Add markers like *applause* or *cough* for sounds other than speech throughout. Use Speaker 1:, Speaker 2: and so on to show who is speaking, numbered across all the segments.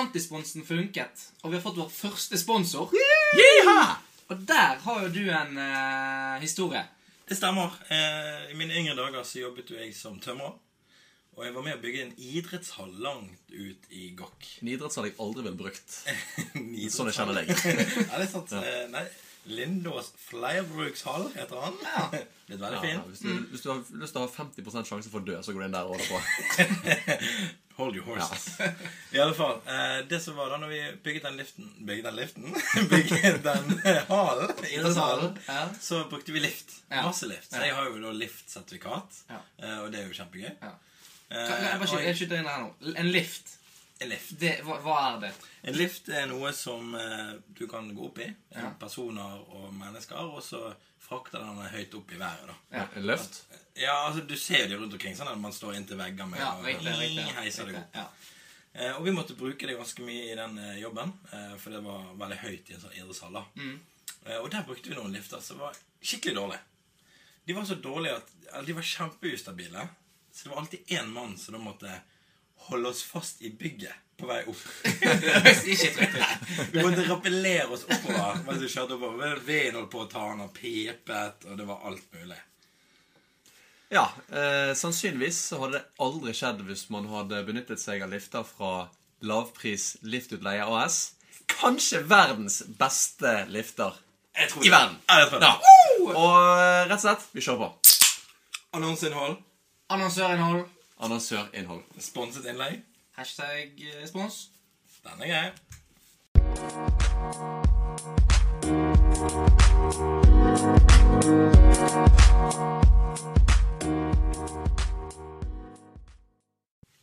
Speaker 1: Antisponsen funket, og vi har fått vår første sponsor.
Speaker 2: Yeeha!
Speaker 1: Og der har jo du en eh, historie.
Speaker 2: Det stemmer. Eh, I mine yngre dager så jobbet jo jeg som tømrer. Og jeg var med å bygge en idrettshall langt ut i
Speaker 1: *laughs*
Speaker 2: Gokk.
Speaker 3: En idrettshall jeg aldri ville brukt.
Speaker 2: En
Speaker 3: Sånn jeg kjenner deg.
Speaker 2: *laughs* ja, det er sant. Eh, Nei, Lindås Fleirbrukshall heter han. *laughs* Litt
Speaker 3: Ja,
Speaker 2: veldig fin.
Speaker 3: hvis, du, hvis du har lyst til å ha 50 sjanse for å dø, så går du inn der og holder på.
Speaker 2: Hold your horses. I alle fall, eh, det som var da når vi bygget den liften Bygget den liften? *laughs* bygget den eh,
Speaker 1: *laughs*
Speaker 2: hallen, idrettshallen,
Speaker 1: Altså, Ja.
Speaker 2: så brukte vi lift.
Speaker 1: Ja.
Speaker 2: Masse lift. Så
Speaker 1: Ja.
Speaker 2: jeg har jo da liftsertifikat,
Speaker 1: Ja.
Speaker 2: eh, og det er jo kjempegøy.
Speaker 1: Ja.
Speaker 2: Eh,
Speaker 1: Kan- kan Jeg bare
Speaker 2: og
Speaker 1: skyter, jeg skyter inn her nå. L- En lift.
Speaker 2: en lift.
Speaker 1: Det, hva, hva er det?
Speaker 2: En lift er noe som eh, du kan gå opp i. eh,
Speaker 1: Ja.
Speaker 2: Personer og mennesker. Og så frakter den den høyt opp i været. da.
Speaker 1: Ja.
Speaker 3: *laughs* En løft?
Speaker 2: Ja, altså Du ser det rundt omkring. sånn at Man står inntil vegger med
Speaker 1: Ja,
Speaker 2: og
Speaker 1: riktig. riktig,
Speaker 2: heiser det
Speaker 1: riktig.
Speaker 2: opp.
Speaker 1: Ja.
Speaker 2: Eh, og vi måtte bruke det ganske mye i den eh, jobben, eh, for det var veldig høyt i en sånn idrettshall. da.
Speaker 1: Mm.
Speaker 2: Eh, og der brukte vi noen lifter som var skikkelig dårlige. De var så dårlige at eller, De var kjempeustabile. Så det var alltid én mann som da måtte holde oss fast i bygget på vei opp.
Speaker 1: Det høres Ikke trygt ut.
Speaker 2: Vi måtte rappellere oss oppover mens vi kjørte oppover. Veden holdt på å ta han, han pepet, og det var alt mulig.
Speaker 3: Ja, eh, sannsynligvis så hadde det aldri skjedd hvis man hadde benyttet seg av lifter fra lavpris Liftutleie AS. Kanskje verdens beste lifter.
Speaker 2: Jeg tror
Speaker 3: I verden.
Speaker 2: Ja, jeg tror det.
Speaker 3: Ja. Og eh, rett og slett, vi kjører på.
Speaker 2: Annonseinnhold.
Speaker 1: Annonsørinnhold.
Speaker 3: Annonsørinnhold.
Speaker 2: Sponset innlegg.
Speaker 1: Hashtag eh, spons.
Speaker 2: Den er grei.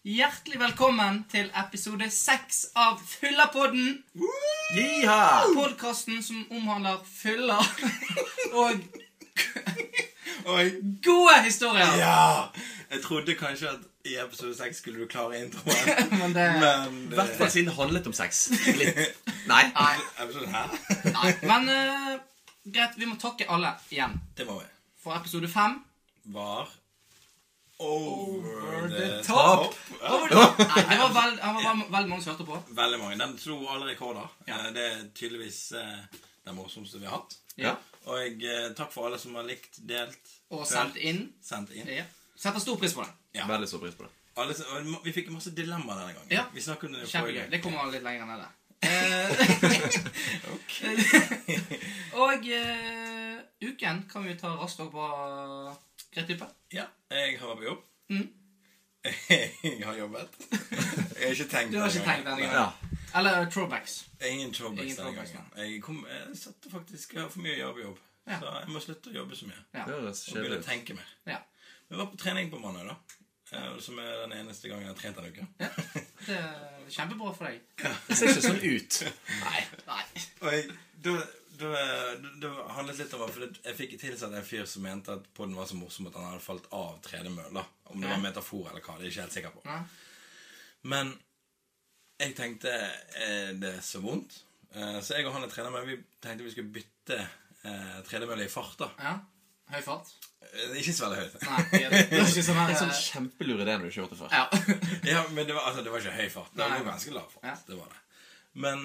Speaker 1: Hjertelig velkommen til episode seks av Fyllapodden.
Speaker 3: Jiha!
Speaker 1: Podkasten som omhandler fyller *laughs* og
Speaker 2: Oi.
Speaker 1: gode historier.
Speaker 2: Ja! Jeg trodde kanskje at i episode 6 skulle du klare introen,
Speaker 1: Men det
Speaker 2: men
Speaker 3: I
Speaker 2: eh,
Speaker 3: hvert fall siden det handlet om sex. Litt. Nei.
Speaker 1: Nei.
Speaker 2: Episode her?
Speaker 1: nei. Men eh, greit, vi må takke alle igjen
Speaker 2: Det må vi.
Speaker 1: for episode fem.
Speaker 2: Var over the
Speaker 3: top.
Speaker 2: top.
Speaker 1: Hva var det? Nei, det var veld, han var veld, veldig mange som hørte på.
Speaker 2: Veldig mange. Den slo alle rekorder.
Speaker 1: Ja.
Speaker 2: Eh, Det er tydeligvis eh, den morsomste vi har hatt.
Speaker 3: Ja.
Speaker 2: Og jeg, eh, takk for alle som har likt, delt
Speaker 1: Og
Speaker 2: hørt,
Speaker 1: sendt inn.
Speaker 2: sendt inn.
Speaker 1: Ja. Setter stor pris på det.
Speaker 2: Ja.
Speaker 3: Veldig stor pris på det.
Speaker 2: Alle, som- og vi fikk masse dilemmaer denne gangen.
Speaker 1: Ja.
Speaker 2: Vi snakket om det
Speaker 1: Kjempegøy.
Speaker 2: forrige
Speaker 1: Det
Speaker 2: gang.
Speaker 1: kommer litt lenger ned der. Eh, *laughs* og eh, uken kan vi ta raskt over på Greit type.
Speaker 2: Ja, jeg har vært på jobb.
Speaker 1: Mm.
Speaker 2: jeg har
Speaker 1: *laughs*
Speaker 2: jobbet. Jeg har ikke tenkt
Speaker 1: Du har
Speaker 2: denne
Speaker 1: ikke tenkt
Speaker 2: gangen.
Speaker 1: denne
Speaker 3: Ja.
Speaker 1: gangen. Eller eh, throwbacks.
Speaker 2: Nei, Ingen
Speaker 1: Ingen
Speaker 2: throwbacks denne
Speaker 1: throwbacks,
Speaker 2: gangen. Jeg, kom, jeg satte faktisk jeg har for mye jobb i jobb.
Speaker 1: Ja.
Speaker 2: Så jeg må slutte å jobbe så mye.
Speaker 1: Ja.
Speaker 3: Det høres
Speaker 2: Og begynne
Speaker 3: kjedelig
Speaker 2: å
Speaker 3: ut.
Speaker 2: tenke mer.
Speaker 1: Ja.
Speaker 2: Vi var på trening på mandag, da. Eh, Som er den eneste gangen jeg har trent denne uken.
Speaker 1: Det er kjempebra for deg.
Speaker 3: Det ser ikke sånn ut. Nei.
Speaker 1: Nei.
Speaker 2: Og jeg, da, da, da handlet litt om for Jeg fikk tilsatt en fyr som mente at podden var så morsom at han hadde falt av tredemølla. Om det
Speaker 1: Ja.
Speaker 2: var en metafor eller hva, det er jeg ikke helt sikker på.
Speaker 1: Nei.
Speaker 2: Men jeg tenkte er det er så vondt. Eh, Så jeg og han er trener, men vi tenkte vi skulle bytte eh, tredemølle i fart. da
Speaker 1: Ja. Høy fart?
Speaker 2: Eh, Ikke så veldig høyt.
Speaker 1: Nei. Det er ikke sånn her
Speaker 3: En sånn
Speaker 1: eh,
Speaker 3: kjempelur idé når du ikke har gjort det før.
Speaker 1: Ja.
Speaker 2: *laughs* Ja, men det var, altså, det var ikke høy fart. Det
Speaker 1: Nei.
Speaker 2: var ganske lav fart.
Speaker 1: Ja.
Speaker 2: Det var det. Men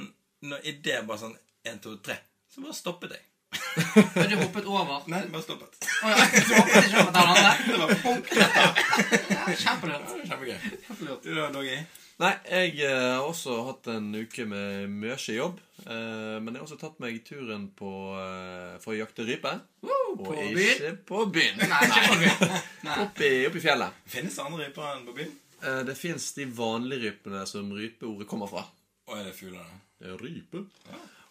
Speaker 2: når i det bare sånn 1, 2, 3, så bare stoppet jeg.
Speaker 1: Men du hoppet over.
Speaker 2: Nei, bare *laughs* stoppet.
Speaker 1: Å, ja. *laughs* Du hoppet ikke over den andre.
Speaker 2: Det var punk.
Speaker 1: Ja, Kjempelurt.
Speaker 2: Kjempegøy.
Speaker 1: Kjempelurt.
Speaker 2: Du da, Doggy?
Speaker 3: Nei, jeg eh, har også hatt en uke med mye jobb. eh, Men jeg har også tatt meg turen på, eh, for å jakte rype.
Speaker 1: Woo,
Speaker 3: Og
Speaker 1: På byen.
Speaker 3: ikke på byen.
Speaker 1: Nei, ikke på byen. Nei.
Speaker 3: Opp i, opp i fjellet.
Speaker 2: Finnes det andre ryper enn på byen?
Speaker 3: Eh, Det fins de vanlige rypene som rypeordet kommer fra.
Speaker 2: Å, er det fugler, da?
Speaker 3: Rype?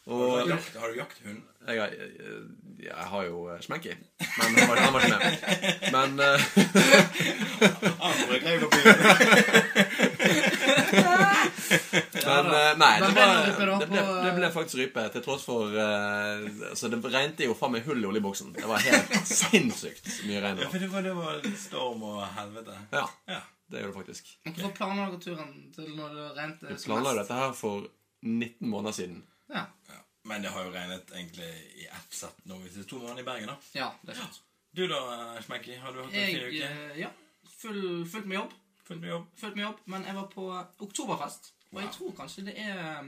Speaker 2: Har
Speaker 3: Og
Speaker 2: du jakt- Har du jakthund? *laughs*
Speaker 3: jeg, har- eh, jeg har jo eh, Smenky, men han var, han var ikke med. Men eh,
Speaker 2: Andre greier på byen.
Speaker 1: Ja
Speaker 3: Men
Speaker 1: da.
Speaker 3: eh, nei,
Speaker 1: Da
Speaker 3: det,
Speaker 1: ble
Speaker 3: var,
Speaker 1: det rype da
Speaker 3: det, ble,
Speaker 1: på-
Speaker 3: det ble faktisk rype, til tross for eh, Altså, det regnet jo faen meg hull i oljeboksen. Det var helt
Speaker 1: *laughs*
Speaker 3: sinnssykt så mye regn.
Speaker 2: Ja,
Speaker 3: det
Speaker 2: for
Speaker 3: var.
Speaker 2: det var, det var litt storm og helvete.
Speaker 3: Ja,
Speaker 2: Ja.
Speaker 3: det gjør det faktisk.
Speaker 1: Men Hvorfor planla dere turen til når det regnet
Speaker 3: Vi
Speaker 1: som
Speaker 3: planla jo
Speaker 1: mest?
Speaker 3: dette her for 19 måneder siden.
Speaker 1: Ja.
Speaker 2: ja. Men det har jo regnet egentlig i ett sett nå hvis det er to måneder i Bergen, da.
Speaker 1: ja, det er sant.
Speaker 2: Du da, Smekki? Har du hatt en fin
Speaker 1: Jeg
Speaker 2: uke?
Speaker 1: eh, Ja. Full, fullt med jobb.
Speaker 2: Fullt med jobb?
Speaker 1: Fullt med jobb. Men jeg var på oktoberfest. Og jeg tror kanskje det er eh,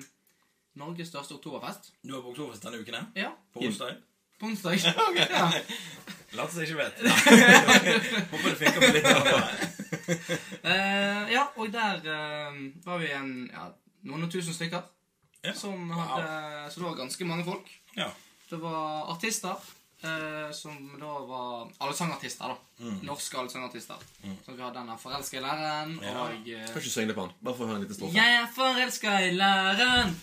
Speaker 1: Norges største oktoberfest.
Speaker 2: Du var på Oktoberfest denne uken, her?
Speaker 1: Ja,
Speaker 2: På onsdag?
Speaker 1: på onsdag. *laughs* Ja.
Speaker 2: Lat som jeg
Speaker 1: *laughs*
Speaker 2: ikke vet. Håper det funker for litt. av det.
Speaker 1: Eh, ja, og der eh, var vi en, ja, noen og tusen stykker.
Speaker 2: Ja.
Speaker 1: Som hadde, Så det var ganske mange folk.
Speaker 2: Ja.
Speaker 1: Det var artister eh, som da var allsangartister. da. Norske allsangartister. Så vi hadde den der 'Forelska i læreren'
Speaker 2: Ja.
Speaker 1: og eh,
Speaker 3: Kan ikke synge det på han. Bare få høre en liten strofe.
Speaker 1: 'Jeg er forelska i læreren'.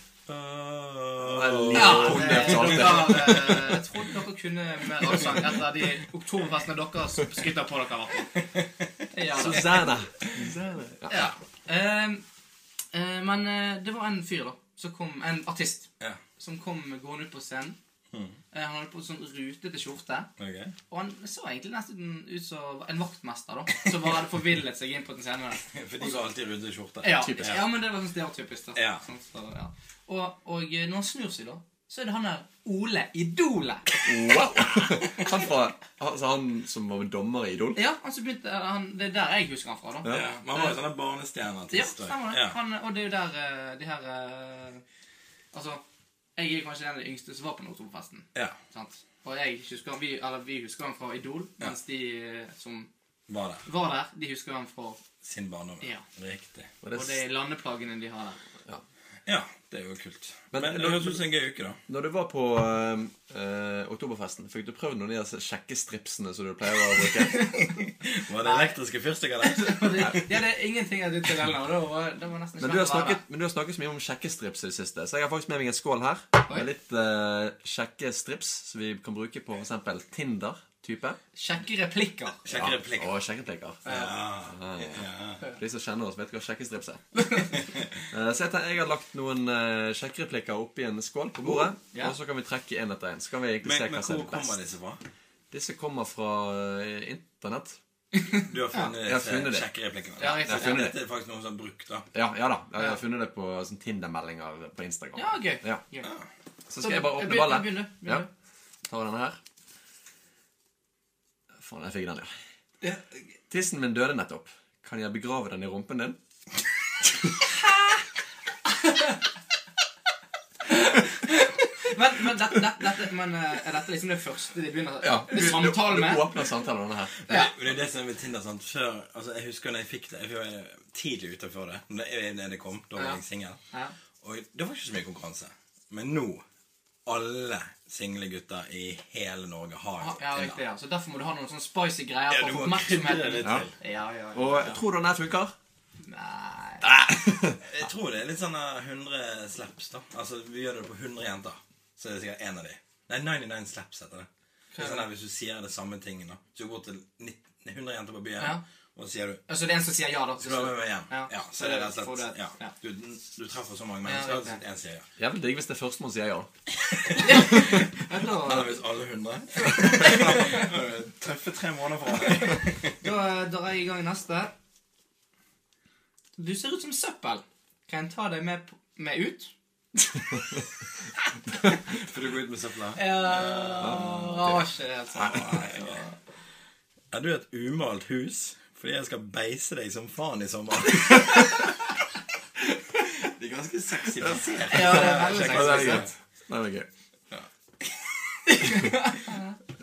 Speaker 3: Veldig
Speaker 1: Ja,
Speaker 3: imponert,
Speaker 1: det-
Speaker 3: Salte.
Speaker 1: dere, eh, Jeg trodde dere kunne mer allsang etter de oktoberfestene dere skryter på dere. hvertfall. Ja, da.
Speaker 3: Susanne. Ja.
Speaker 1: Ja. Ehm, eh, men eh, det var en fyr, da, som kom, en artist,
Speaker 2: Ja.
Speaker 1: som kom gående ut på scenen.
Speaker 2: Mhm.
Speaker 1: Eh, han hadde på en sånn rutete skjorte,
Speaker 2: Ok.
Speaker 1: og han så egentlig nesten ut som en vaktmester, da, som bare hadde forvillet seg inn på den scenen. der.
Speaker 2: For de går alltid rundt i skjorte.
Speaker 1: Ja,
Speaker 3: Typisk.
Speaker 1: ja men det var sånn stereotypisk. da.
Speaker 2: Ja.
Speaker 1: Sånn, så, ja. Og, og eh, når han snur seg, da, så er det han der Ole Idolet.
Speaker 3: Wow! Han, fra, altså han som var dommer i Idol?
Speaker 1: Ja, han som begynte, eh, han, det er der jeg husker han fra, da.
Speaker 2: Ja. Man var jo sånn
Speaker 1: Ja,
Speaker 2: barnestjerneartist. da.
Speaker 1: stemmer det.
Speaker 2: Ja.
Speaker 1: Han, og det er jo der eh, de her eh, Altså, jeg er jo kanskje en av de yngste som var på Nordtorvfesten.
Speaker 2: Ja.
Speaker 1: Sant? Og jeg husker han, vi, eller vi husker han fra Idol, mens de eh, som
Speaker 2: Var der.
Speaker 1: var der, de husker han fra og
Speaker 2: Sin barndom.
Speaker 1: Ja.
Speaker 2: Riktig.
Speaker 3: Og det,
Speaker 1: de landeplagene de har der.
Speaker 2: Ja, det er jo kult.
Speaker 3: Men-
Speaker 2: Men det høres ut som en gøy uke, da.
Speaker 3: når du var på eh, eh, oktoberfesten, fikk du prøvd noen av de der kjekke stripsene som du pleier å bruke?
Speaker 2: Var det elektriske *laughs* fyrstikker der?
Speaker 1: Og det, ja, det er ingenting av ditt til denne, og det var, det var nesten
Speaker 3: Men du, har
Speaker 1: svært å være
Speaker 3: snakket, men du har snakket så mye om kjekke strips i det siste, så jeg har faktisk med meg en skål her.
Speaker 1: Oi.
Speaker 3: Med litt eh, kjekke strips som vi kan bruke på f.eks. Tinder-type.
Speaker 1: der. Kjekke replikker.
Speaker 2: Kjekke replikker.
Speaker 3: Og kjekke replikker.
Speaker 2: Ja. Ja.
Speaker 3: For De som kjenner oss, vet hva kjekke strips er. Eh, så jeg, tenker, jeg har lagt noen eh, kjekke replikker oppi en skål på bordet,
Speaker 1: Ja.
Speaker 3: og så kan vi trekke en etter en. Så kan vi egentlig
Speaker 2: Men,
Speaker 3: se
Speaker 2: men
Speaker 3: hva som
Speaker 2: hvor
Speaker 3: er
Speaker 2: kommer
Speaker 3: best.
Speaker 2: disse fra?
Speaker 3: Disse kommer fra eh, internett.
Speaker 2: Du har funnet
Speaker 3: Jeg har
Speaker 2: disse
Speaker 3: funnet det.
Speaker 2: kjekke replikkene?
Speaker 1: Ja, riktig.
Speaker 2: Jeg har funnet
Speaker 3: Ja.
Speaker 2: Dette er faktisk noen som har brukt, da.
Speaker 3: Ja, ja da. Jeg
Speaker 1: Ja.
Speaker 3: har funnet det på sånn Tinder-meldinger på Instagram.
Speaker 1: Ja, gøy.
Speaker 3: Ja.
Speaker 1: Gøy.
Speaker 3: Så skal jeg bare åpne
Speaker 1: begynner-
Speaker 3: ballet.
Speaker 1: begynner,
Speaker 3: Ja.
Speaker 1: begynner.
Speaker 3: Tar denne her. Faen, jeg fikk den, ja.
Speaker 2: Ja.
Speaker 3: Tissen min døde nettopp. Kan jeg begrave den i rumpen din?
Speaker 1: Men, men, dette, dette, dette, men eh, er dette liksom det første de begynner
Speaker 3: Du, du,
Speaker 1: samtalen med?
Speaker 3: du åpner samtalen med denne her.
Speaker 2: Men det- men det er det som er med Tinder. sant? Før, altså Jeg husker når jeg fikk det. Jeg var tidlig ute før det. Når det- når det kom, Da var
Speaker 1: Ja.
Speaker 2: jeg singel.
Speaker 1: Ja.
Speaker 2: Og det var ikke så mye konkurranse. Men nå alle single gutter i hele Norge har
Speaker 1: Ja, riktig, ja. Så derfor må du ha noen sånne spicy greier
Speaker 2: Ja,
Speaker 1: for
Speaker 2: du
Speaker 1: å få
Speaker 2: må krydre
Speaker 1: oppmerksomheten.
Speaker 2: det
Speaker 1: Ja.
Speaker 2: til.
Speaker 1: Ja, ja, ja.
Speaker 3: Og tror du den her funker?
Speaker 1: Nei
Speaker 2: Jeg tror det er litt sånn eh, 100 slaps, da. Altså, Vi gjør det på 100 jenter. Så er det sikkert én av de. Nei, 99 slaps heter det. det er sånn der, hvis du sier det samme tingen, da. Så du går til 90 100 jenter på byen,
Speaker 1: Ja.
Speaker 2: og så sier du
Speaker 1: Altså, det er en som sier ja, da.
Speaker 2: Skal du ha med meg hjem?
Speaker 1: Ja.
Speaker 2: Ja. så er det rett
Speaker 1: Får
Speaker 2: og
Speaker 1: du
Speaker 2: slett
Speaker 1: et-
Speaker 2: ja.
Speaker 1: ja.
Speaker 2: du, du treffer så mange
Speaker 1: Ja,
Speaker 2: mennesker
Speaker 1: riktig.
Speaker 2: at én sier ja.
Speaker 3: *laughs* Jævlig digg hvis det er førstemann sier ja.
Speaker 1: Ja, da,
Speaker 2: Eller hvis alle *laughs* 100 Treffer tre måneder fra hverandre.
Speaker 1: da drar jeg i gang neste. Du ser ut som søppel. Kan jeg ta deg med, på- med ut?
Speaker 2: For du går ut med søpla.
Speaker 1: Ja, det var ikke det helt sant.
Speaker 2: Er du et umalt hus? Fordi jeg skal beise deg som faen i sommer. *laughs* Det er ganske sexy plassert.
Speaker 1: Ja, det er veldig
Speaker 3: Ja, det er
Speaker 1: sexy.
Speaker 3: gøy.
Speaker 1: sant?
Speaker 3: Det er gøy. *laughs*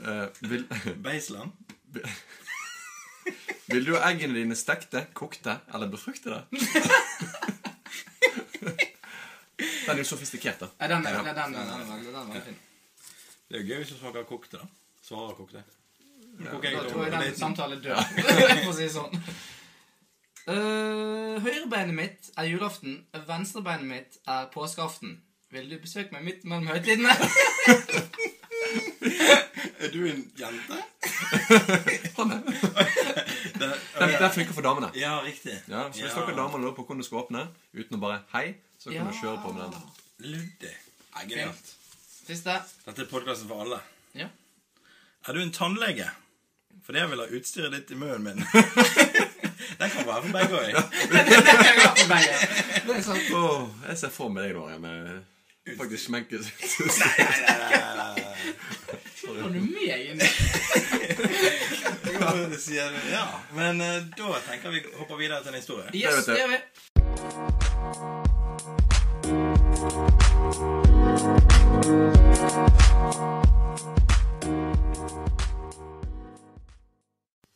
Speaker 3: Eh, vil,
Speaker 2: Beisland?
Speaker 3: vil du ha eggene dine stekte, kokte eller *laughs* befruktede? Den er jo sofistikert, da.
Speaker 1: Ja, den er den, den, den, den, den, den var fin.
Speaker 2: Det er jo gøy hvis du smaker kokte, da. Svarer kokte. Koker
Speaker 1: Da
Speaker 2: jeg
Speaker 1: tror jeg den
Speaker 2: på daten.
Speaker 1: samtalen dør, *laughs* for å si det sånn. Eh, høyrebeinet mitt er julaften, venstrebeinet mitt er påskeaften. Vil du besøke meg midt mellom
Speaker 2: *laughs*
Speaker 1: høytidene?
Speaker 2: Er du en jente?
Speaker 3: *laughs*
Speaker 2: Det-
Speaker 3: Den, den funker for damene.
Speaker 2: Ja, riktig.
Speaker 3: Ja, så hvis dere damer lurer på hvordan du skal åpne uten å bare hei, så kan du kjøre på med den. der.
Speaker 2: Luddig. Ja, Genialt.
Speaker 1: Siste.
Speaker 2: Dette er podkasten for alle. *laughs*
Speaker 1: Ja.
Speaker 2: Er du en tannlege? Fordi jeg vil ha utstyret ditt i munnen min. *laughs* Den kan være for begge òg.
Speaker 1: Det er sant.
Speaker 3: Åh, jeg ser for meg deg, Dorian, med faktisk smenket
Speaker 1: Får du meg inn?
Speaker 2: Ja. Men eh, da tenker vi hopper videre til en historie.
Speaker 1: Yes, det gjør vi.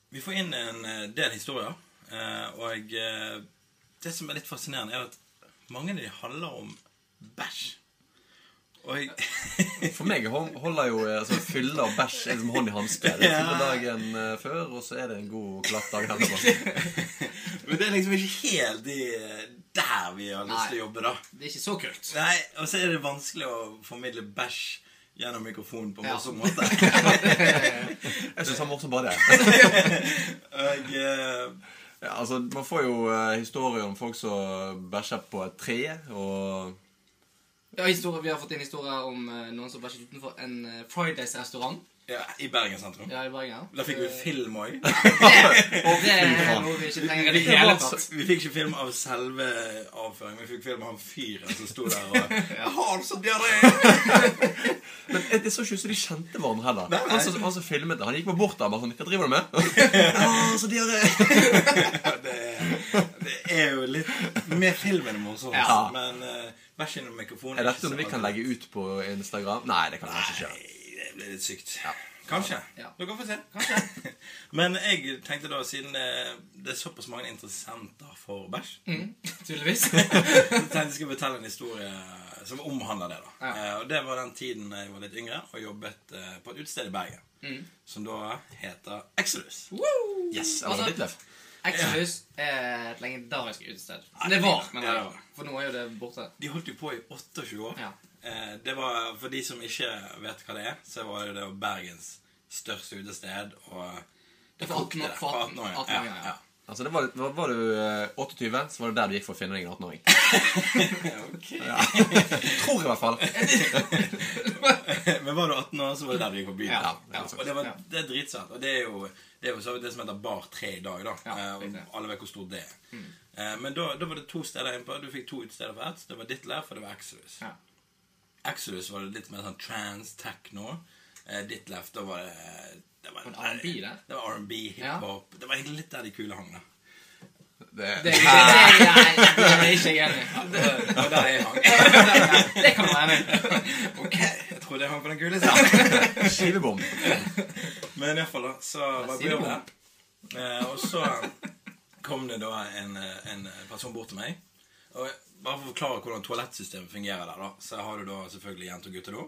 Speaker 2: Vi får inn en eh, del historier, eh, og eh, det som er litt fascinerende, er at mange av de handler om bæsj. *laughs* Og
Speaker 3: *laughs* For meg hol- holder jo eh, altså, fylle og bæsj er som hånd i hanske. Det er
Speaker 2: Ja.
Speaker 3: fylle dagen eh, før, og så er det en god, glatt dag etterpå.
Speaker 2: Men det er liksom ikke helt de, der vi har lyst til å jobbe, da.
Speaker 1: Det er ikke så kult.
Speaker 2: Nei, Og så er det vanskelig å formidle bæsj gjennom mikrofon på en
Speaker 1: Ja.
Speaker 2: morsom *laughs* måte.
Speaker 3: Jeg syns han er morsom bare det.
Speaker 2: Og eh,
Speaker 3: Ja, altså, man får jo eh, historier om folk som bæsjer på et tre, og
Speaker 1: Ja, historie, vi har fått inn historier om eh, noen som bæsjet utenfor en eh, Fridays-restaurant
Speaker 2: ja, i Bergen sentrum.
Speaker 1: ja, i Bergen.
Speaker 2: Da fikk vi film òg.
Speaker 1: Og det
Speaker 2: *laughs*
Speaker 1: er noe vi ikke trenger i det hele tatt.
Speaker 2: Vi fikk ikke film av selve avføringen, vi fikk film av han fyren som sto der
Speaker 3: *laughs*
Speaker 2: og Jeg har så diaré!
Speaker 3: Men eh, det så ikke ut som de kjente hverandre heller.
Speaker 2: Nei, nei.
Speaker 3: Han som, han som filmet det, han gikk bare bort der bare sånn Hva driver du med? ah, så de har det.
Speaker 2: Det, det er jo litt Med filmen er morsomt,
Speaker 1: Ja.
Speaker 2: men eh, bæsj gjennom mikrofonen
Speaker 3: Er dette noe vi kan legge ut på Instagram? Nei, det kan vi kanskje ikke. gjøre.
Speaker 2: Nei, det blir litt sykt. Kanskje.
Speaker 1: Ja.
Speaker 2: Dere får se. Kanskje. *laughs* Men jeg tenkte da, siden det, det er såpass mange interessenter for bæsj,
Speaker 1: Mm,
Speaker 2: *laughs*
Speaker 1: tydeligvis.
Speaker 2: så tenkte jeg skulle fortelle en historie som omhandler det. da.
Speaker 1: Ja.
Speaker 2: Eh, og Det var den tiden jeg var litt yngre og jobbet eh, på et utested i Bergen.
Speaker 1: Mm.
Speaker 2: Som da heter Exodus.
Speaker 1: Woo!
Speaker 3: Yes, eller
Speaker 1: Altså-
Speaker 3: Ditlef.
Speaker 1: Exodus er et legendarisk utested. Det var, men
Speaker 2: Ja, det var.
Speaker 1: for nå er jo det borte.
Speaker 2: De holdt jo på i 28 år.
Speaker 1: Ja.
Speaker 2: Eh, det var, For de som ikke vet hva det er, så var det jo Bergens største utested. og... Det
Speaker 1: For 18 år-
Speaker 2: kokte der.
Speaker 1: for 18
Speaker 2: år, ja.
Speaker 1: 18 år,
Speaker 2: ja,
Speaker 1: ja.
Speaker 2: ja.
Speaker 3: Altså, det var, var, var du eh, 28, så var det der du gikk for å finne deg
Speaker 1: *laughs*
Speaker 3: en 18-åring.
Speaker 2: Ok.
Speaker 3: Tror jeg i hvert fall.
Speaker 2: *laughs* Men var du 18 år, så var det der du gikk på byen.
Speaker 1: Ja,
Speaker 3: ja.
Speaker 2: og det, var,
Speaker 1: Ja.
Speaker 2: det er dritsvært. Og det er jo det, er jo så, vidt det som heter Bar 3 i dag. da
Speaker 1: Ja,
Speaker 2: Eh,
Speaker 1: riktig.
Speaker 2: og Alle vet hvor stort det er. Eh, Men da, da var det to steder innpå. Du fikk to utesteder for ett. Det var Ditlev, og det var Exodus.
Speaker 1: Ja.
Speaker 2: Exodus var det litt mer sånn trans, techno. Eh, Ditlev, da var det det var,
Speaker 1: Var det R&B der?
Speaker 2: Det var R&B, hiphop Det var egentlig litt der de kule hang, da.
Speaker 3: Det,
Speaker 1: Det, det, det, nei, det er ikke jeg enig *laughs* i.
Speaker 2: Det var der jeg hang.
Speaker 1: Det kan du være enig i.
Speaker 2: *laughs* Ok, jeg trodde jeg hang på den kule siden.
Speaker 3: Skivebom.
Speaker 2: Men iallfall, da, så var
Speaker 1: sier
Speaker 2: jeg
Speaker 1: du
Speaker 2: der. Eh, og så kom det da en, eh, en person bort til meg. Og jeg- bare for å forklare hvordan toalettsystemet fungerer der, da, så har du da selvfølgelig jente- og guttedo.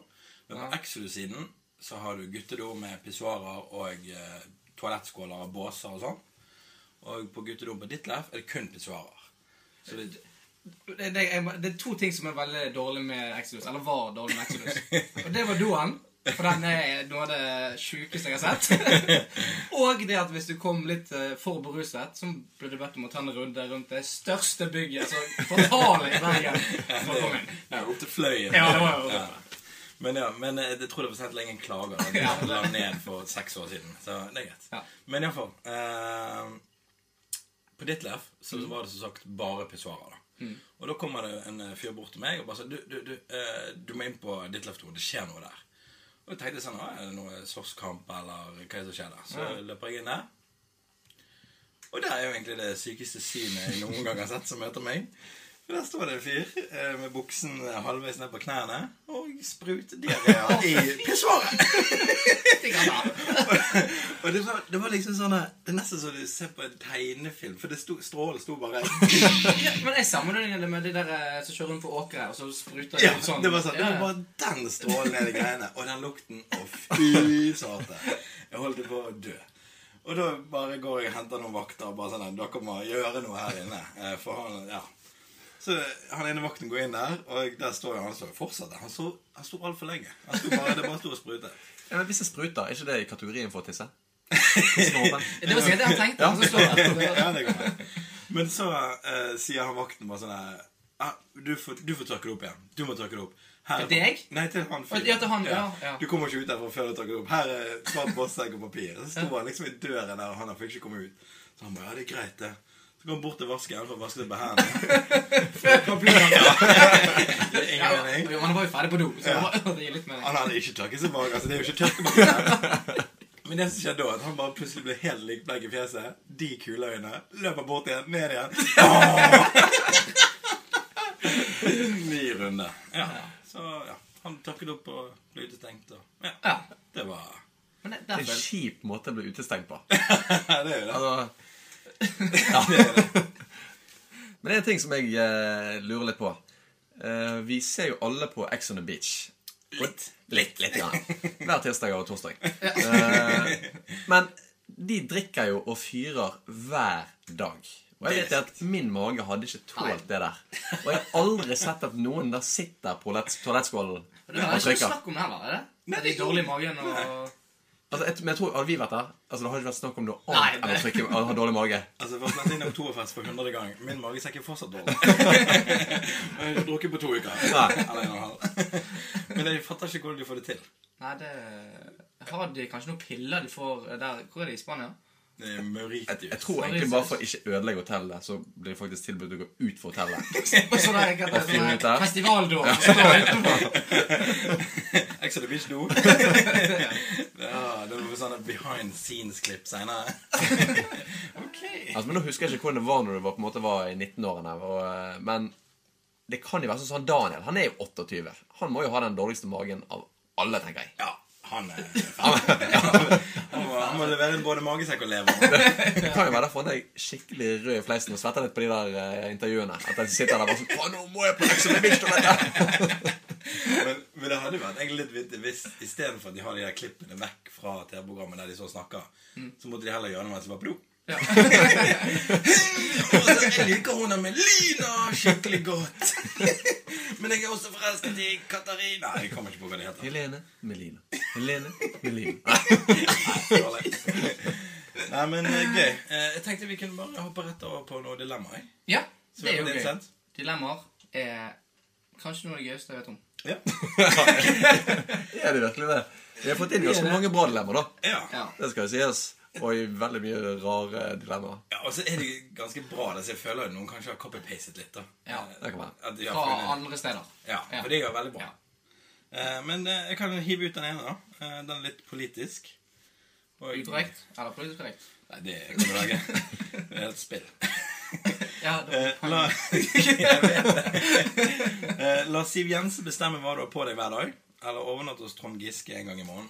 Speaker 2: Men på Exodus-siden så har du guttedo med pissoarer og eh, toalettskåler og båser og sånn. Og på guttedoen på Ditlev er det kun pissoarer. Så det,
Speaker 1: Det, det, er, det er to ting som er veldig dårlig med Exodus. Eller var dårlig med Exodus. Og det var doen. For den er noe av det sjukeste jeg har *laughs* sett. Og det at hvis du kom litt eh, for beruset, så ble du bedt om å ta en runde rundt det største bygget, så fatale i Bergen, for å komme inn.
Speaker 2: ja, opp til fløyen.
Speaker 1: Ja, det var jo
Speaker 2: Ja. Men ja, men eh, jeg tror det var sent lenge en klager. da.
Speaker 1: Ja.
Speaker 2: De la ned for seks år siden. Så det er greit.
Speaker 1: Ja.
Speaker 2: Men iallfall eh, På ditt lev så
Speaker 1: Mm.
Speaker 2: var det som sagt bare pissoarer. da. Og da kommer det en eh, fyr bort til meg og bare sier du, du, du, eh, du må inn på ditt lev 2. Det skjer noe der. Og jeg tenkte sånn «Ah, Er det noe slåsskamp, eller hva er det som skjer der? Så løper jeg inn der. Og det er jo egentlig det sykeste synet jeg noen gang har sett som møter meg. For der står det en fyr eh, med buksen halvveis ned på knærne og spruter diaré i pissoaret.
Speaker 1: Det kan være.
Speaker 2: Og det var, det var liksom sånn eh, Det er nesten som du ser på en tegnefilm, for det sto, strålen sto bare
Speaker 1: Ja, men jeg sammenligner det med de der eh, som kjører rundt på åkre, og så spruter de
Speaker 2: *laughs* ja,
Speaker 1: ut sånn.
Speaker 2: Det var sånn, det
Speaker 1: Ja,
Speaker 2: var
Speaker 1: ja.
Speaker 2: bare den strålen nede i greiene, og den lukten. Å, fy sate. Jeg holdt på å dø. Og da bare går jeg og henter noen vakter og bare sånn Dere må gjøre noe her inne. eh, For han, ja. Så han ene vakten går inn der, og der står jo han som fortsatte. Han sto, han sto altfor lenge. Han sto bare, det bare sto og sprutet.
Speaker 3: Ja, men hvis jeg spruter, er ikke det i kategorien for
Speaker 1: *laughs*
Speaker 3: å tisse? Tissen er åpen.
Speaker 1: Det var sikkert det han tenkte. Men så står det etterpå.
Speaker 2: Ja, det går bra. Men så eh, sier han vakten bare sånn her «Ah, du, får- du får tørke det opp igjen. Du må tørke det opp. Her-
Speaker 1: Til deg?
Speaker 2: Nei, til han fyren.
Speaker 1: Ja, til han, ja, ja.
Speaker 2: Du kommer ikke ut derfra før du tørker det opp. Her er svart bossegg og papir. Så sto han liksom i døren der, og han fikk ikke komme ut. Så han bare Ja, det er greit, det. Så går han bort til vasken for å vaske det på hendene.
Speaker 1: Da blir han- Ja,
Speaker 2: *laughs* Det er ingen mening.
Speaker 1: Jo, men han var jo ferdig på do, så det var- det gir litt mening.
Speaker 2: Han hadde ikke tørket seg bak. Altså, det er jo ikke tørkebakter. *laughs* Men det som skjedde da, at han bare plutselig ble helt likbleik i fjeset. De kuleøynene. Løper bort igjen, ned igjen. Åh! Ny runde. Ja. Så ja. han takket opp og ble utestengt. Og, ja.
Speaker 1: Ja.
Speaker 2: Det var
Speaker 1: Men det,
Speaker 3: Det er en
Speaker 1: derfor
Speaker 3: kjip måte å bli utestengt på.
Speaker 2: Det er jo det.
Speaker 3: Altså, *laughs* ja. Men det er en ting som jeg eh, lurer litt på. Eh, vi ser jo alle på Ex on the Beach. Litt. Litt, litt, ja. *laughs* Hver tirsdag og torsdag. Eh, men de drikker jo og fyrer hver dag. Og jeg vet at min mage hadde ikke tålt det der. Og jeg har aldri sett at noen der sitter på toalett- toalettskålen og
Speaker 1: Det er ikke noe
Speaker 3: drikker.
Speaker 1: snakk om det heller, er det? Nei, det er dårlig i magen og
Speaker 3: Altså, jeg, men jeg tror, Hadde vi vært der, altså, det hadde ikke vært snakk om noe
Speaker 1: Nei,
Speaker 3: annet
Speaker 1: nei.
Speaker 3: enn å trykke, å ha dårlig mage.
Speaker 2: Altså, for å slette inn oktoberfest for hundrede gang. Min magesekk er fortsatt dårlig. Jeg *laughs* har ikke drukket på to uker.
Speaker 3: Nei.
Speaker 2: Eller en og en halv. Men jeg fatter ikke hvordan de får det til.
Speaker 1: Nei, det Har de kanskje noen piller de får der Hvor er det i Spania?
Speaker 2: Det er Mauritius.
Speaker 3: Jeg tror egentlig bare for å ikke ødelegge hotellet, så blir det faktisk tilbudt å gå ut fra hotellet. *laughs*
Speaker 1: Sånn der, hva heter det,
Speaker 3: finne ut
Speaker 1: sånn
Speaker 3: der.
Speaker 1: der festivaldår. som står utenfor.
Speaker 2: Ex on the beach *laughs* do. ja, det var sånne behind scenes-klipp senere. ok.
Speaker 3: Altså, men Nå husker jeg ikke hvordan det var når du var, på en måte var i 19-årene. og, eh, Men det kan jo være sånn som han Daniel. Han er jo 28. Han må jo ha den dårligste magen av alle, tenker jeg.
Speaker 2: Ja, han er han, må, han må levere både magesekk og lever.
Speaker 3: Det kan jo være derfor han er skikkelig rød i fleisen og svetter litt på de der eh, intervjuene. At han sitter der bare sånn «Faen, nå må jeg på Ex on the Beach, du vet det!»
Speaker 2: Men, men det hadde jo vært egentlig litt vittig hvis istedenfor at de har de der klippene vekk fra TV-programmet der de så snakker, så måtte de heller gjøre noe mens de var på do. *laughs*
Speaker 1: Ja.
Speaker 2: Og så, jeg liker hun med Lina skikkelig *laughs* godt. Men jeg er også forelsket i Katarina. Jeg kommer ikke på hva det heter.
Speaker 3: Helene Melina. Helene Melina. *laughs*
Speaker 2: Dårlig. Nei, men eh, gøy. Eh, Jeg tenkte vi kunne bare hoppe rett over på noe dilemma. jeg.
Speaker 1: ja,
Speaker 2: Så
Speaker 1: det er jo
Speaker 2: det er
Speaker 1: gøy.
Speaker 2: sant.
Speaker 1: Dilemmaer er kanskje noe av det gøyeste jeg vet om.
Speaker 2: Ja.
Speaker 3: Er det virkelig det? Vi har fått inn ganske mange bra dilemmaer, da.
Speaker 2: Ja.
Speaker 1: Ja.
Speaker 3: Det skal jo sies. Og i veldig mye rare dilemmaer.
Speaker 2: ja, Og så er det ganske bra, da, så jeg føler jo noen kanskje har copy-pastet litt. da.
Speaker 1: Ja.
Speaker 2: Eh,
Speaker 3: Det kan være.
Speaker 2: At de har
Speaker 1: Fra
Speaker 2: funnet-
Speaker 1: andre steder.
Speaker 2: Ja,
Speaker 1: Ja.
Speaker 2: for det er jo veldig bra. Eh, Men eh, jeg kan hive ut den ene, da. Eh, Den er litt politisk. Og-
Speaker 1: Ukorrekt eller politisk korrekt.
Speaker 2: Nei, det kan du lage. Det er et spill.
Speaker 1: Ja, det
Speaker 2: Eh, La, *laughs* jeg vet det. Eh, la Siv Jensen bestemme hva du har på deg hver dag, eller overnatte hos Trond Giske en gang i måneden.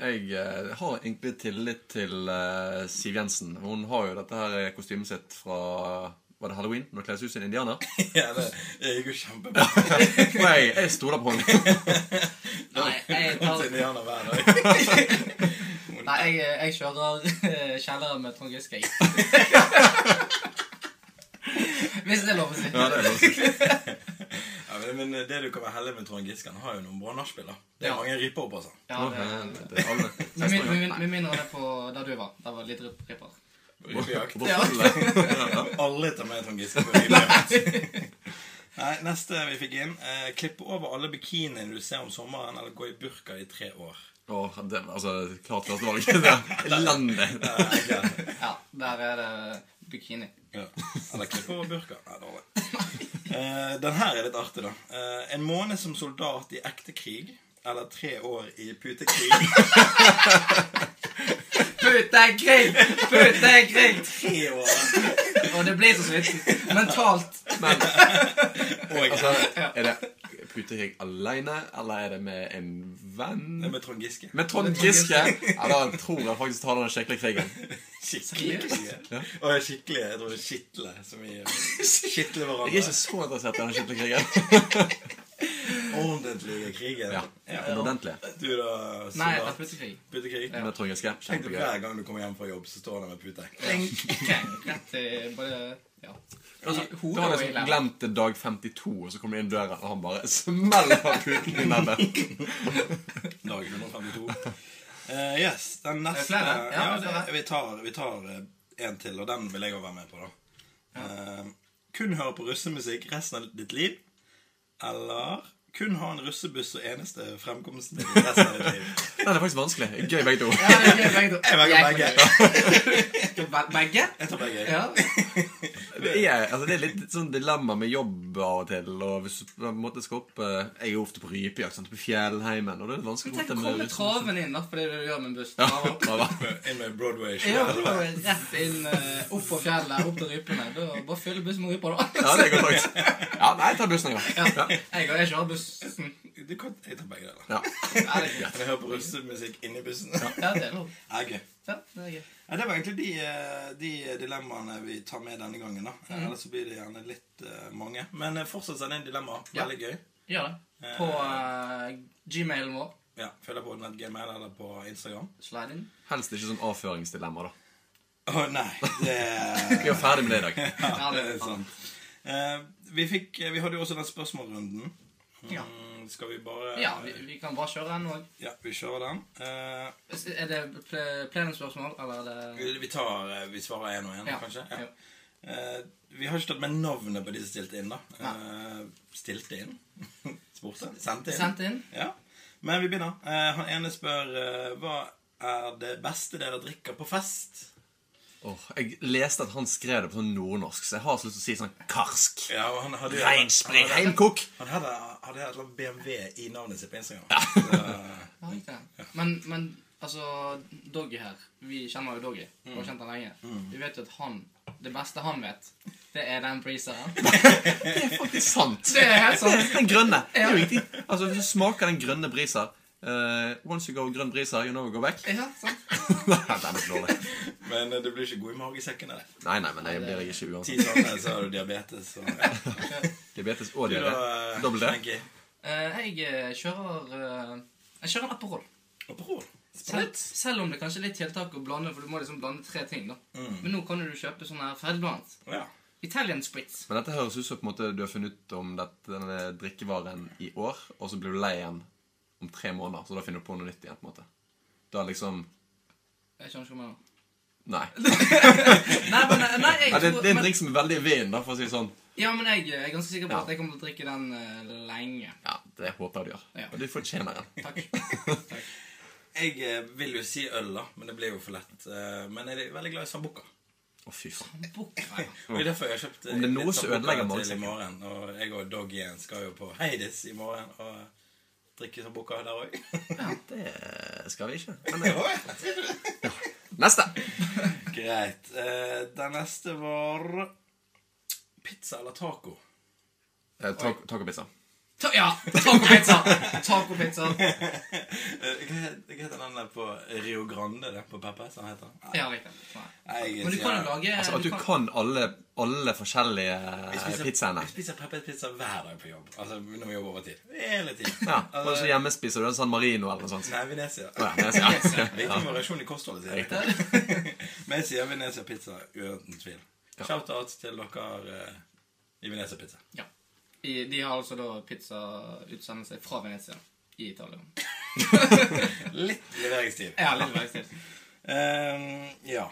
Speaker 3: Jeg eh, har egentlig tillit til eh, Siv Jensen. Hun har jo dette her kostymet sitt fra Var det Halloween? Når hun kles ut som en indianer?
Speaker 2: Ja, det det gikk jo kjempebra.
Speaker 3: Og jeg, jeg stoler på henne.
Speaker 1: Nei, jeg
Speaker 2: *laughs* Mot
Speaker 1: tar
Speaker 2: indianer hver dag.
Speaker 1: Nei, jeg, jeg kjører eh, kjelleren med Trond Giske. jeg. Hvis det er lov å si.
Speaker 3: Ja, det er lov.
Speaker 2: Ja, men, men det du kan være heldig med Trond Giske, han har jo noen bra nachspiel. da. Det er
Speaker 1: Ja.
Speaker 2: mange ripper opp, altså.
Speaker 1: Ja,
Speaker 3: Å,
Speaker 1: det,
Speaker 3: helvete, alle
Speaker 1: med, min-
Speaker 3: 16
Speaker 1: med,
Speaker 3: år.
Speaker 1: min- med mindre det er på der du var. Der var det litt rip- ripper.
Speaker 2: Rippejakt.
Speaker 1: Ja.
Speaker 2: Alle tar med Trond Giske *laughs* på rippejakt. Nei, neste vi fikk inn. Eh, klippe over alle bikiniene du ser om sommeren, eller gå i burka i tre år.
Speaker 3: Åh, det var altså klart første valg. Det er Elendig.
Speaker 2: Nei, ikke.
Speaker 1: Ja, der er det bikini.
Speaker 2: Ja. Eller klippe over burka. Nei, dårlig. Eh, den her er litt artig, da. Eh, en måned som soldat i ekte krig, eller tre år i putekrig.
Speaker 1: Putekrig! Putekrig!
Speaker 2: *laughs* Tre år.
Speaker 1: Og det blir så så vidt. Mentalt.
Speaker 3: Men
Speaker 2: Og
Speaker 3: altså, er det putekrig aleine, eller er det med en venn?
Speaker 2: Det er med Trond Giske.
Speaker 3: Med Trond Giske? Ja, da tror jeg faktisk tar den skikkelig krigen.
Speaker 2: Skikkelig. Ja. Og skikkelig. Jeg tror det er skitle. Som i skitle
Speaker 3: Jeg er
Speaker 2: hverandre.
Speaker 3: ikke så interessert i den skikkelig krigen.
Speaker 2: Ordentlige krigen.
Speaker 3: Ja, den ordentlige.
Speaker 2: Du da,
Speaker 1: Nei, det er
Speaker 2: soldat.
Speaker 1: putekrig.
Speaker 2: Putekrig.
Speaker 3: Med Trond Giske.
Speaker 2: Tenk deg
Speaker 3: Kjempegøy.
Speaker 2: hver gang du kommer hjem fra jobb, så står han med pute.
Speaker 1: Kreng, Rett i både Ja.
Speaker 3: Altså,
Speaker 1: I
Speaker 3: da har
Speaker 1: hodet og
Speaker 3: jeg
Speaker 1: i
Speaker 3: liksom
Speaker 1: læren.
Speaker 3: glemt det dag 52, og så kommer det inn døren, og han bare smeller av puten i nebbet.
Speaker 2: Dag 152. Eh, yes, den neste
Speaker 1: det flere? Ja,
Speaker 2: Ja,
Speaker 1: det er flere.
Speaker 2: det, vi tar, vi tar eh, en til, og den vil jeg òg være med på, da. Eh, kun høre på russemusikk resten av ditt liv, eller kun ha en russebuss som eneste fremkomsten til resten av ditt liv.
Speaker 3: Nei, det er faktisk vanskelig. Gøy begge to.
Speaker 1: Ja, jeg velger begge. to.
Speaker 2: Jeg velger begge.
Speaker 1: Jeg velger Begge?
Speaker 2: Jeg tar begge.
Speaker 1: Ja.
Speaker 3: Det er, altså, det er litt sånn dilemma med jobb av og til. Og hvis du på en måte skal opp eh, Jeg er jo ofte på rypejakt sant, på fjellheimen, og det er vanskelig
Speaker 1: Tenk å komme traven inn, da, for det er det du gjør med en buss.
Speaker 3: Ja,
Speaker 1: Traver.
Speaker 3: bra, bra.
Speaker 2: Inn med Broadway.
Speaker 1: Ja, da er det rett inn, eh, opp på fjellet, opp til rypene. Da bare fylle bussen med ryper, da.
Speaker 3: ja, det går faktisk. Ja, nei, ta bussen en gang.
Speaker 1: Ja. Jeg går ikke av bussen.
Speaker 2: Du kan, jeg tar begge deler.
Speaker 3: Ja.
Speaker 1: Ja, det er gøy.
Speaker 2: Kan jeg høre på russemusikk inni bussen? *laughs*
Speaker 1: Ja, det er lov.
Speaker 2: Ja, gøy.
Speaker 1: Ja, det er gøy.
Speaker 2: Ja, det var egentlig de, eh, de dilemmaene vi tar med denne gangen. da Eh, Ellers så blir det gjerne litt eh, mange. Men eh, fortsatt send inn dilemmaer.
Speaker 1: Ja.
Speaker 2: Veldig gøy.
Speaker 1: Gjør det. På eh, gmailen vår.
Speaker 2: Ja, Følg på Nett Gmail eller på Instagram.
Speaker 1: Slide inn.
Speaker 3: Helst ikke sånn avføringsdilemma, da.
Speaker 2: Å nei, *laughs* det
Speaker 3: Vi er ferdig med det i dag.
Speaker 2: Ja, det er
Speaker 1: Ja.
Speaker 2: sant. Eh, vi, fikk, eh, vi hadde jo også den spørsmålrunden. Mm,
Speaker 1: Ja.
Speaker 2: Skal vi bare
Speaker 1: Ja, vi, vi kan bare kjøre den òg.
Speaker 2: Ja, vi kjører den. Eh,
Speaker 1: Er det ple- plenumsspørsmål, eller er det
Speaker 2: vi, tar, eh, vi svarer én og én, kanskje? Ja.
Speaker 1: jo.
Speaker 2: Eh, vi har ikke tatt med navnet på de som stilte inn, da. Eh, stilte inn? *laughs* Spurte? Sendte inn?
Speaker 1: Sendt inn.
Speaker 2: Ja. Men vi begynner. Eh, han ene spør eh, hva er det beste dere drikker på fest?
Speaker 3: Åh, jeg leste at han skrev det på sånn nordnorsk, så jeg har så lyst til å si sånn karsk.
Speaker 2: Ja, og han hadde
Speaker 3: Reinspring, heimkok.
Speaker 2: Han hadde, hadde et eller annet BMW i navnet sitt på Instagram. Så, eh,
Speaker 1: Ja, ikke det. Men, men altså, Doggy her Vi kjenner jo Doggy. Vi
Speaker 3: Mm.
Speaker 1: har kjent han lenge. Vi vet jo at han Det beste han vet, det er den breezeren.
Speaker 3: Det *laughs* er faktisk sant.
Speaker 1: *laughs* Det er helt sant.
Speaker 3: Den grønne. Det er jo riktig. Altså, hvis du smaker den grønne brisa eh, Once you go grønn brisa, you know you go back.
Speaker 1: Ja, sant?
Speaker 3: *laughs* Nei, den er dårlig.
Speaker 2: Men eh, du blir ikke god i magesekken av det.
Speaker 3: Nei, nei, men det blir jeg ikke
Speaker 2: Ti
Speaker 3: uansett.
Speaker 2: sånne, så har du diabetes. Og, ja.
Speaker 3: Diabetes og
Speaker 2: Du da,
Speaker 3: diaré.
Speaker 2: eh,
Speaker 3: Dobbel D.
Speaker 2: Frankie?
Speaker 1: Eh, jeg eh, kjører eh, Jeg kjører en Aperol.
Speaker 2: Aperol.
Speaker 1: Selv,
Speaker 2: Sprut.
Speaker 1: selv om det kanskje er litt tiltak å blande, for du må liksom blande tre ting. da Men nå kan du kjøpe sånn her ferdigblandet.
Speaker 2: Mm, Ja.
Speaker 1: Italian spritz.
Speaker 3: Men dette høres ut som på en måte du har funnet ut om dette, denne drikkevaren i år, og så blir du lei igjen om tre måneder, så da finner du på noe nytt igjen. på en måte. Da liksom
Speaker 1: Jeg skjønner ikke hva jeg mener.
Speaker 3: Nei.
Speaker 1: Nei, men, eh, nei, jeg
Speaker 3: Ja, det,
Speaker 1: tror-
Speaker 3: det er en
Speaker 1: men-
Speaker 3: drink som er veldig i vinden, da, for å si det sånn.
Speaker 1: Ja, men jeg, eh, jeg er ganske sikker på
Speaker 3: Ja.
Speaker 1: at jeg kommer til å drikke den eh, lenge.
Speaker 3: Ja, det håper jeg du gjør.
Speaker 1: Ja.
Speaker 3: Og du fortjener den.
Speaker 1: Takk.
Speaker 3: *laughs*
Speaker 2: Jeg eh, vil jo si øl, da, men det blir jo for lett. Eh, Men jeg er veldig glad i sambuca.
Speaker 3: Å, fy faen.
Speaker 1: Bukker.
Speaker 2: Og Det er derfor jeg har kjøpt eh,
Speaker 3: Om det er noe
Speaker 2: litt
Speaker 3: som
Speaker 2: sambuca
Speaker 3: ødelegger
Speaker 2: til i
Speaker 3: magesekken.
Speaker 2: morgen. Og jeg og Dog igjen skal jo på Heidis i morgen og drikke sambuca der òg.
Speaker 3: Det skal vi ikke. Men *laughs* det Neste!
Speaker 2: Greit. Eh, Den neste var pizza eller taco.
Speaker 3: Eh, taco- Tacopizza.
Speaker 1: Ta, ja, tacopizza! Tacopizza.
Speaker 2: Eh, Hva het- hva heter den der på Rio Grande? Det, på Peppes? Den heter Nei,
Speaker 1: Ja, riktig. Nei.
Speaker 2: jeg
Speaker 1: Men du
Speaker 2: sier-
Speaker 1: kan jo lage
Speaker 3: Altså at du
Speaker 1: kan-
Speaker 3: kan alle, alle forskjellige eh,
Speaker 2: Jeg spiser-
Speaker 3: pizzaene.
Speaker 2: Jeg spiser pepperpizza hver dag på jobb. Altså når vi jobber overtid. Hele tiden.
Speaker 3: Ja, Og så
Speaker 2: altså,
Speaker 3: hjemme spiser du en San Marino eller noe sånt.
Speaker 2: nei, Venezia.
Speaker 3: Å, ja, det er så- ja.
Speaker 2: Viktig variasjon i kostholdet, sier jeg. *laughs* Men jeg sier Venezia pizza uten tvil. Shout-out til dere eh, i Venezia pizza.
Speaker 1: Ja. I, de har altså da pizzautsendelse fra Venezia i Italia.
Speaker 2: *laughs* Litt leveringstid.
Speaker 1: Ja, litt veldig stilt.
Speaker 2: Eh, ja.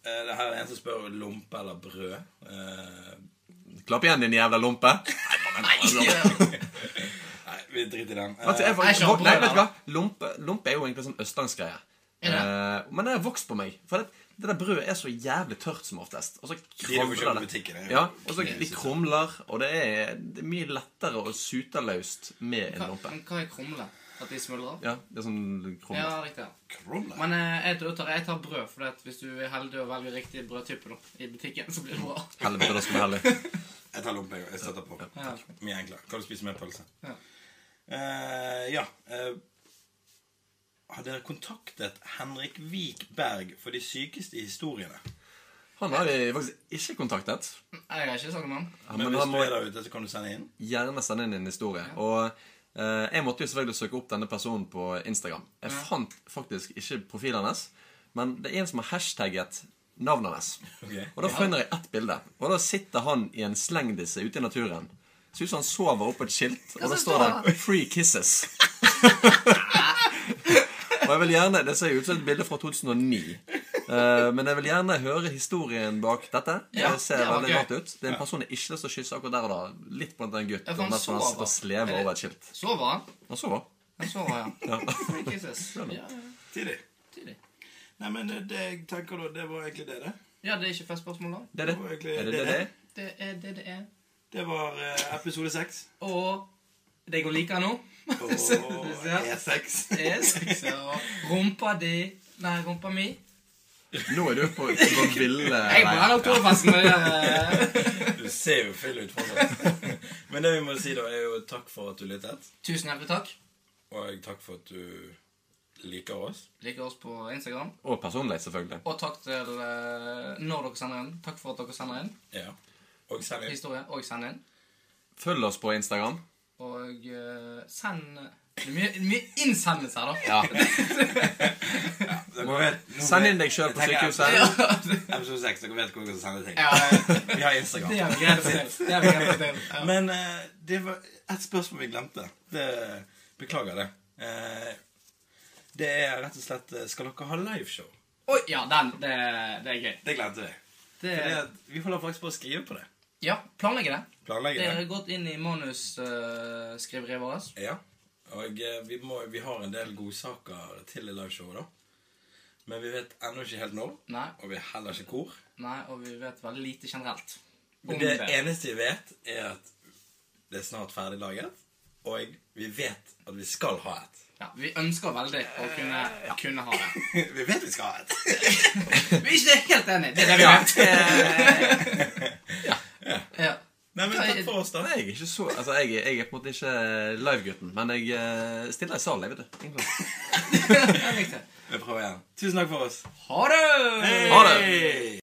Speaker 2: Eh, det her er en som spør lompe eller brød. Eh,
Speaker 3: *laughs* Klapp igjen, din jævla lompe.
Speaker 2: nei, vi driter i den. Eh,
Speaker 3: Altså, jeg,
Speaker 1: Jeg
Speaker 3: faktisk-
Speaker 1: kjøper
Speaker 3: nei,
Speaker 1: brød,
Speaker 3: vet du
Speaker 1: da.
Speaker 3: hva? Lompe, lompe er jo egentlig sånn østlandsgreie.
Speaker 1: Er
Speaker 3: Eh, men det har vokst på meg. For det, det der brødet er så jævlig tørt som oftest. Og så
Speaker 2: de du får kjøpt
Speaker 3: krumler
Speaker 2: i
Speaker 3: det.
Speaker 2: butikken. er jo
Speaker 3: Ja, og så de
Speaker 2: knesyke.
Speaker 3: krumler, og det er, det er mye lettere å sute løst med en
Speaker 1: Hva,
Speaker 3: lompe.
Speaker 1: men hva er krumle? At de smuldrer?
Speaker 3: Ja, det er sånn krumler.
Speaker 1: Ja, riktig.
Speaker 2: Krumler.
Speaker 1: Men eh, jeg, da tar, jeg tar brød, for at hvis du er heldig og velger riktig brødtype da, i butikken, så blir det bra.
Speaker 3: Helvete, da skal vi heldig.
Speaker 2: Jeg tar lompe, jeg. Jeg støtter på.
Speaker 1: Ja.
Speaker 2: Mye enklere. Kan du spise mer pølse?
Speaker 1: Ja.
Speaker 2: Eh, ja. eh, har dere kontaktet Henrik Wikberg for de sykeste historiene?
Speaker 3: Han har vi faktisk ikke kontaktet.
Speaker 1: Jeg har ikke sagt noe om den.
Speaker 3: Ja,
Speaker 2: Men,
Speaker 3: Men
Speaker 2: hvis
Speaker 3: han må
Speaker 2: du er der ute, så kan du sende inn.
Speaker 3: gjerne sende inn en historie. Og eh, jeg måtte jo selvfølgelig søke opp denne personen på Instagram. Jeg fant faktisk ikke profilen hennes, men det er en som har hashtagget navnet hennes. Og da finner jeg ett bilde. Og da sitter han i en slengdisse ute i naturen. Ser ut som han sover oppå et skilt, og da står det 'Free
Speaker 1: *laughs*
Speaker 3: Kisses'. og jeg vil gjerne, Det ser jo ut som et bilde fra 2009. Eh, men jeg vil gjerne høre historien bak dette.
Speaker 1: Ja,
Speaker 3: det ser
Speaker 1: det var
Speaker 3: veldig
Speaker 1: gøy.
Speaker 3: rart ut. Det er en person jeg ikke har lyst til å kysse akkurat der og da. Litt blant den gutten.
Speaker 1: Ja, for han
Speaker 3: Han han
Speaker 1: sover.
Speaker 3: sitter og slever over et skilt.
Speaker 1: Sover han?
Speaker 3: Han sover.
Speaker 1: Han sover, ja.
Speaker 3: Ja.
Speaker 1: Free kisses. Ja, ja,
Speaker 2: Tidlig.
Speaker 1: tidlig.
Speaker 2: Nei, men eh, det, det jeg tenker da, det var egentlig det, det.
Speaker 1: Ja, det er ikke første spørsmål, da.
Speaker 3: Det er det.
Speaker 2: Det var egentlig-
Speaker 3: Er det det
Speaker 2: det er
Speaker 3: det
Speaker 2: det.
Speaker 3: er?
Speaker 1: Det er det det er.
Speaker 2: Det var eh, episode seks.
Speaker 1: Og det går like nå.
Speaker 2: *laughs*
Speaker 1: *laughs*
Speaker 2: Og
Speaker 1: Ja.
Speaker 2: E6.
Speaker 1: Det er sex, ja. Og Rumpa di Nei, rumpa mi.
Speaker 3: Nå er du på, på ville
Speaker 1: Jeg må ha
Speaker 3: veier.
Speaker 1: den oktoberfesten med eh, det.
Speaker 2: Du ser jo fyll ut fortsatt. *laughs* Men det vi må si, da, er jo takk for at du lyttet.
Speaker 1: Tusen hjertelig takk.
Speaker 2: Og takk for at du liker oss.
Speaker 1: Liker oss på Instagram.
Speaker 3: Og personlig, selvfølgelig.
Speaker 1: Og takk til eh, når dere sender inn. Takk for at dere sender inn
Speaker 2: Ja. Og send inn.
Speaker 1: historie. Og send inn.
Speaker 3: Følg oss på Instagram.
Speaker 1: Og eh, send Det er mye, mye innsendelser, da.
Speaker 3: Ja.
Speaker 2: Dere vet-
Speaker 3: Send inn deg sjøl på
Speaker 2: Jeg tenker-
Speaker 3: sykehuset.
Speaker 2: Episode 6. Dere vet hvor dere skal sende ting.
Speaker 1: Ja,
Speaker 2: Vi har
Speaker 1: det
Speaker 2: Instagram.
Speaker 1: har vi greid å få til. Det har vi greid å få til. Ja.
Speaker 2: Men eh, det var et spørsmål vi glemte. Det, beklager det. Eh, det er rett og slett eh, Skal dere ha liveshow?
Speaker 1: Oi, ja, den. Det, det er gøy.
Speaker 2: Det glemte vi.
Speaker 1: Det,
Speaker 2: Fordi at vi holder faktisk på å skrive på det.
Speaker 1: ja, planlegge det. Det
Speaker 2: Planlegge
Speaker 1: er
Speaker 2: det.
Speaker 1: gått inn i manusskriveriet vårt.
Speaker 2: Ja. Og eh, vi, må, vi har en del godsaker til i liveshowet, da. Men vi vet ennå ikke helt når.
Speaker 1: Nei,
Speaker 2: Og vi er heller ikke hvor.
Speaker 1: nei, og vi vet veldig lite generelt. om
Speaker 2: Men det eneste vi vet, er at det er snart ferdig laget. Og vi vet at vi skal ha et.
Speaker 1: Ja, vi ønsker veldig å kunne, kunne ha det.
Speaker 2: *laughs* Vi vet vi skal ha et.
Speaker 1: Vi er ikke helt enige. Det er det vi
Speaker 3: Ja.
Speaker 1: vet. Ja. *laughs*
Speaker 2: Nei, men takk for oss, da.
Speaker 3: Nei, jeg er ikke så Altså, jeg, er- jeg er på en måte ikke livegutten, men jeg eh, stiller i salen, jeg, vet du. Egentlig.
Speaker 1: Jeg likte det.
Speaker 2: Vi prøver igjen. Tusen takk for oss.
Speaker 1: Ha det!
Speaker 3: Ha det!
Speaker 2: Hei!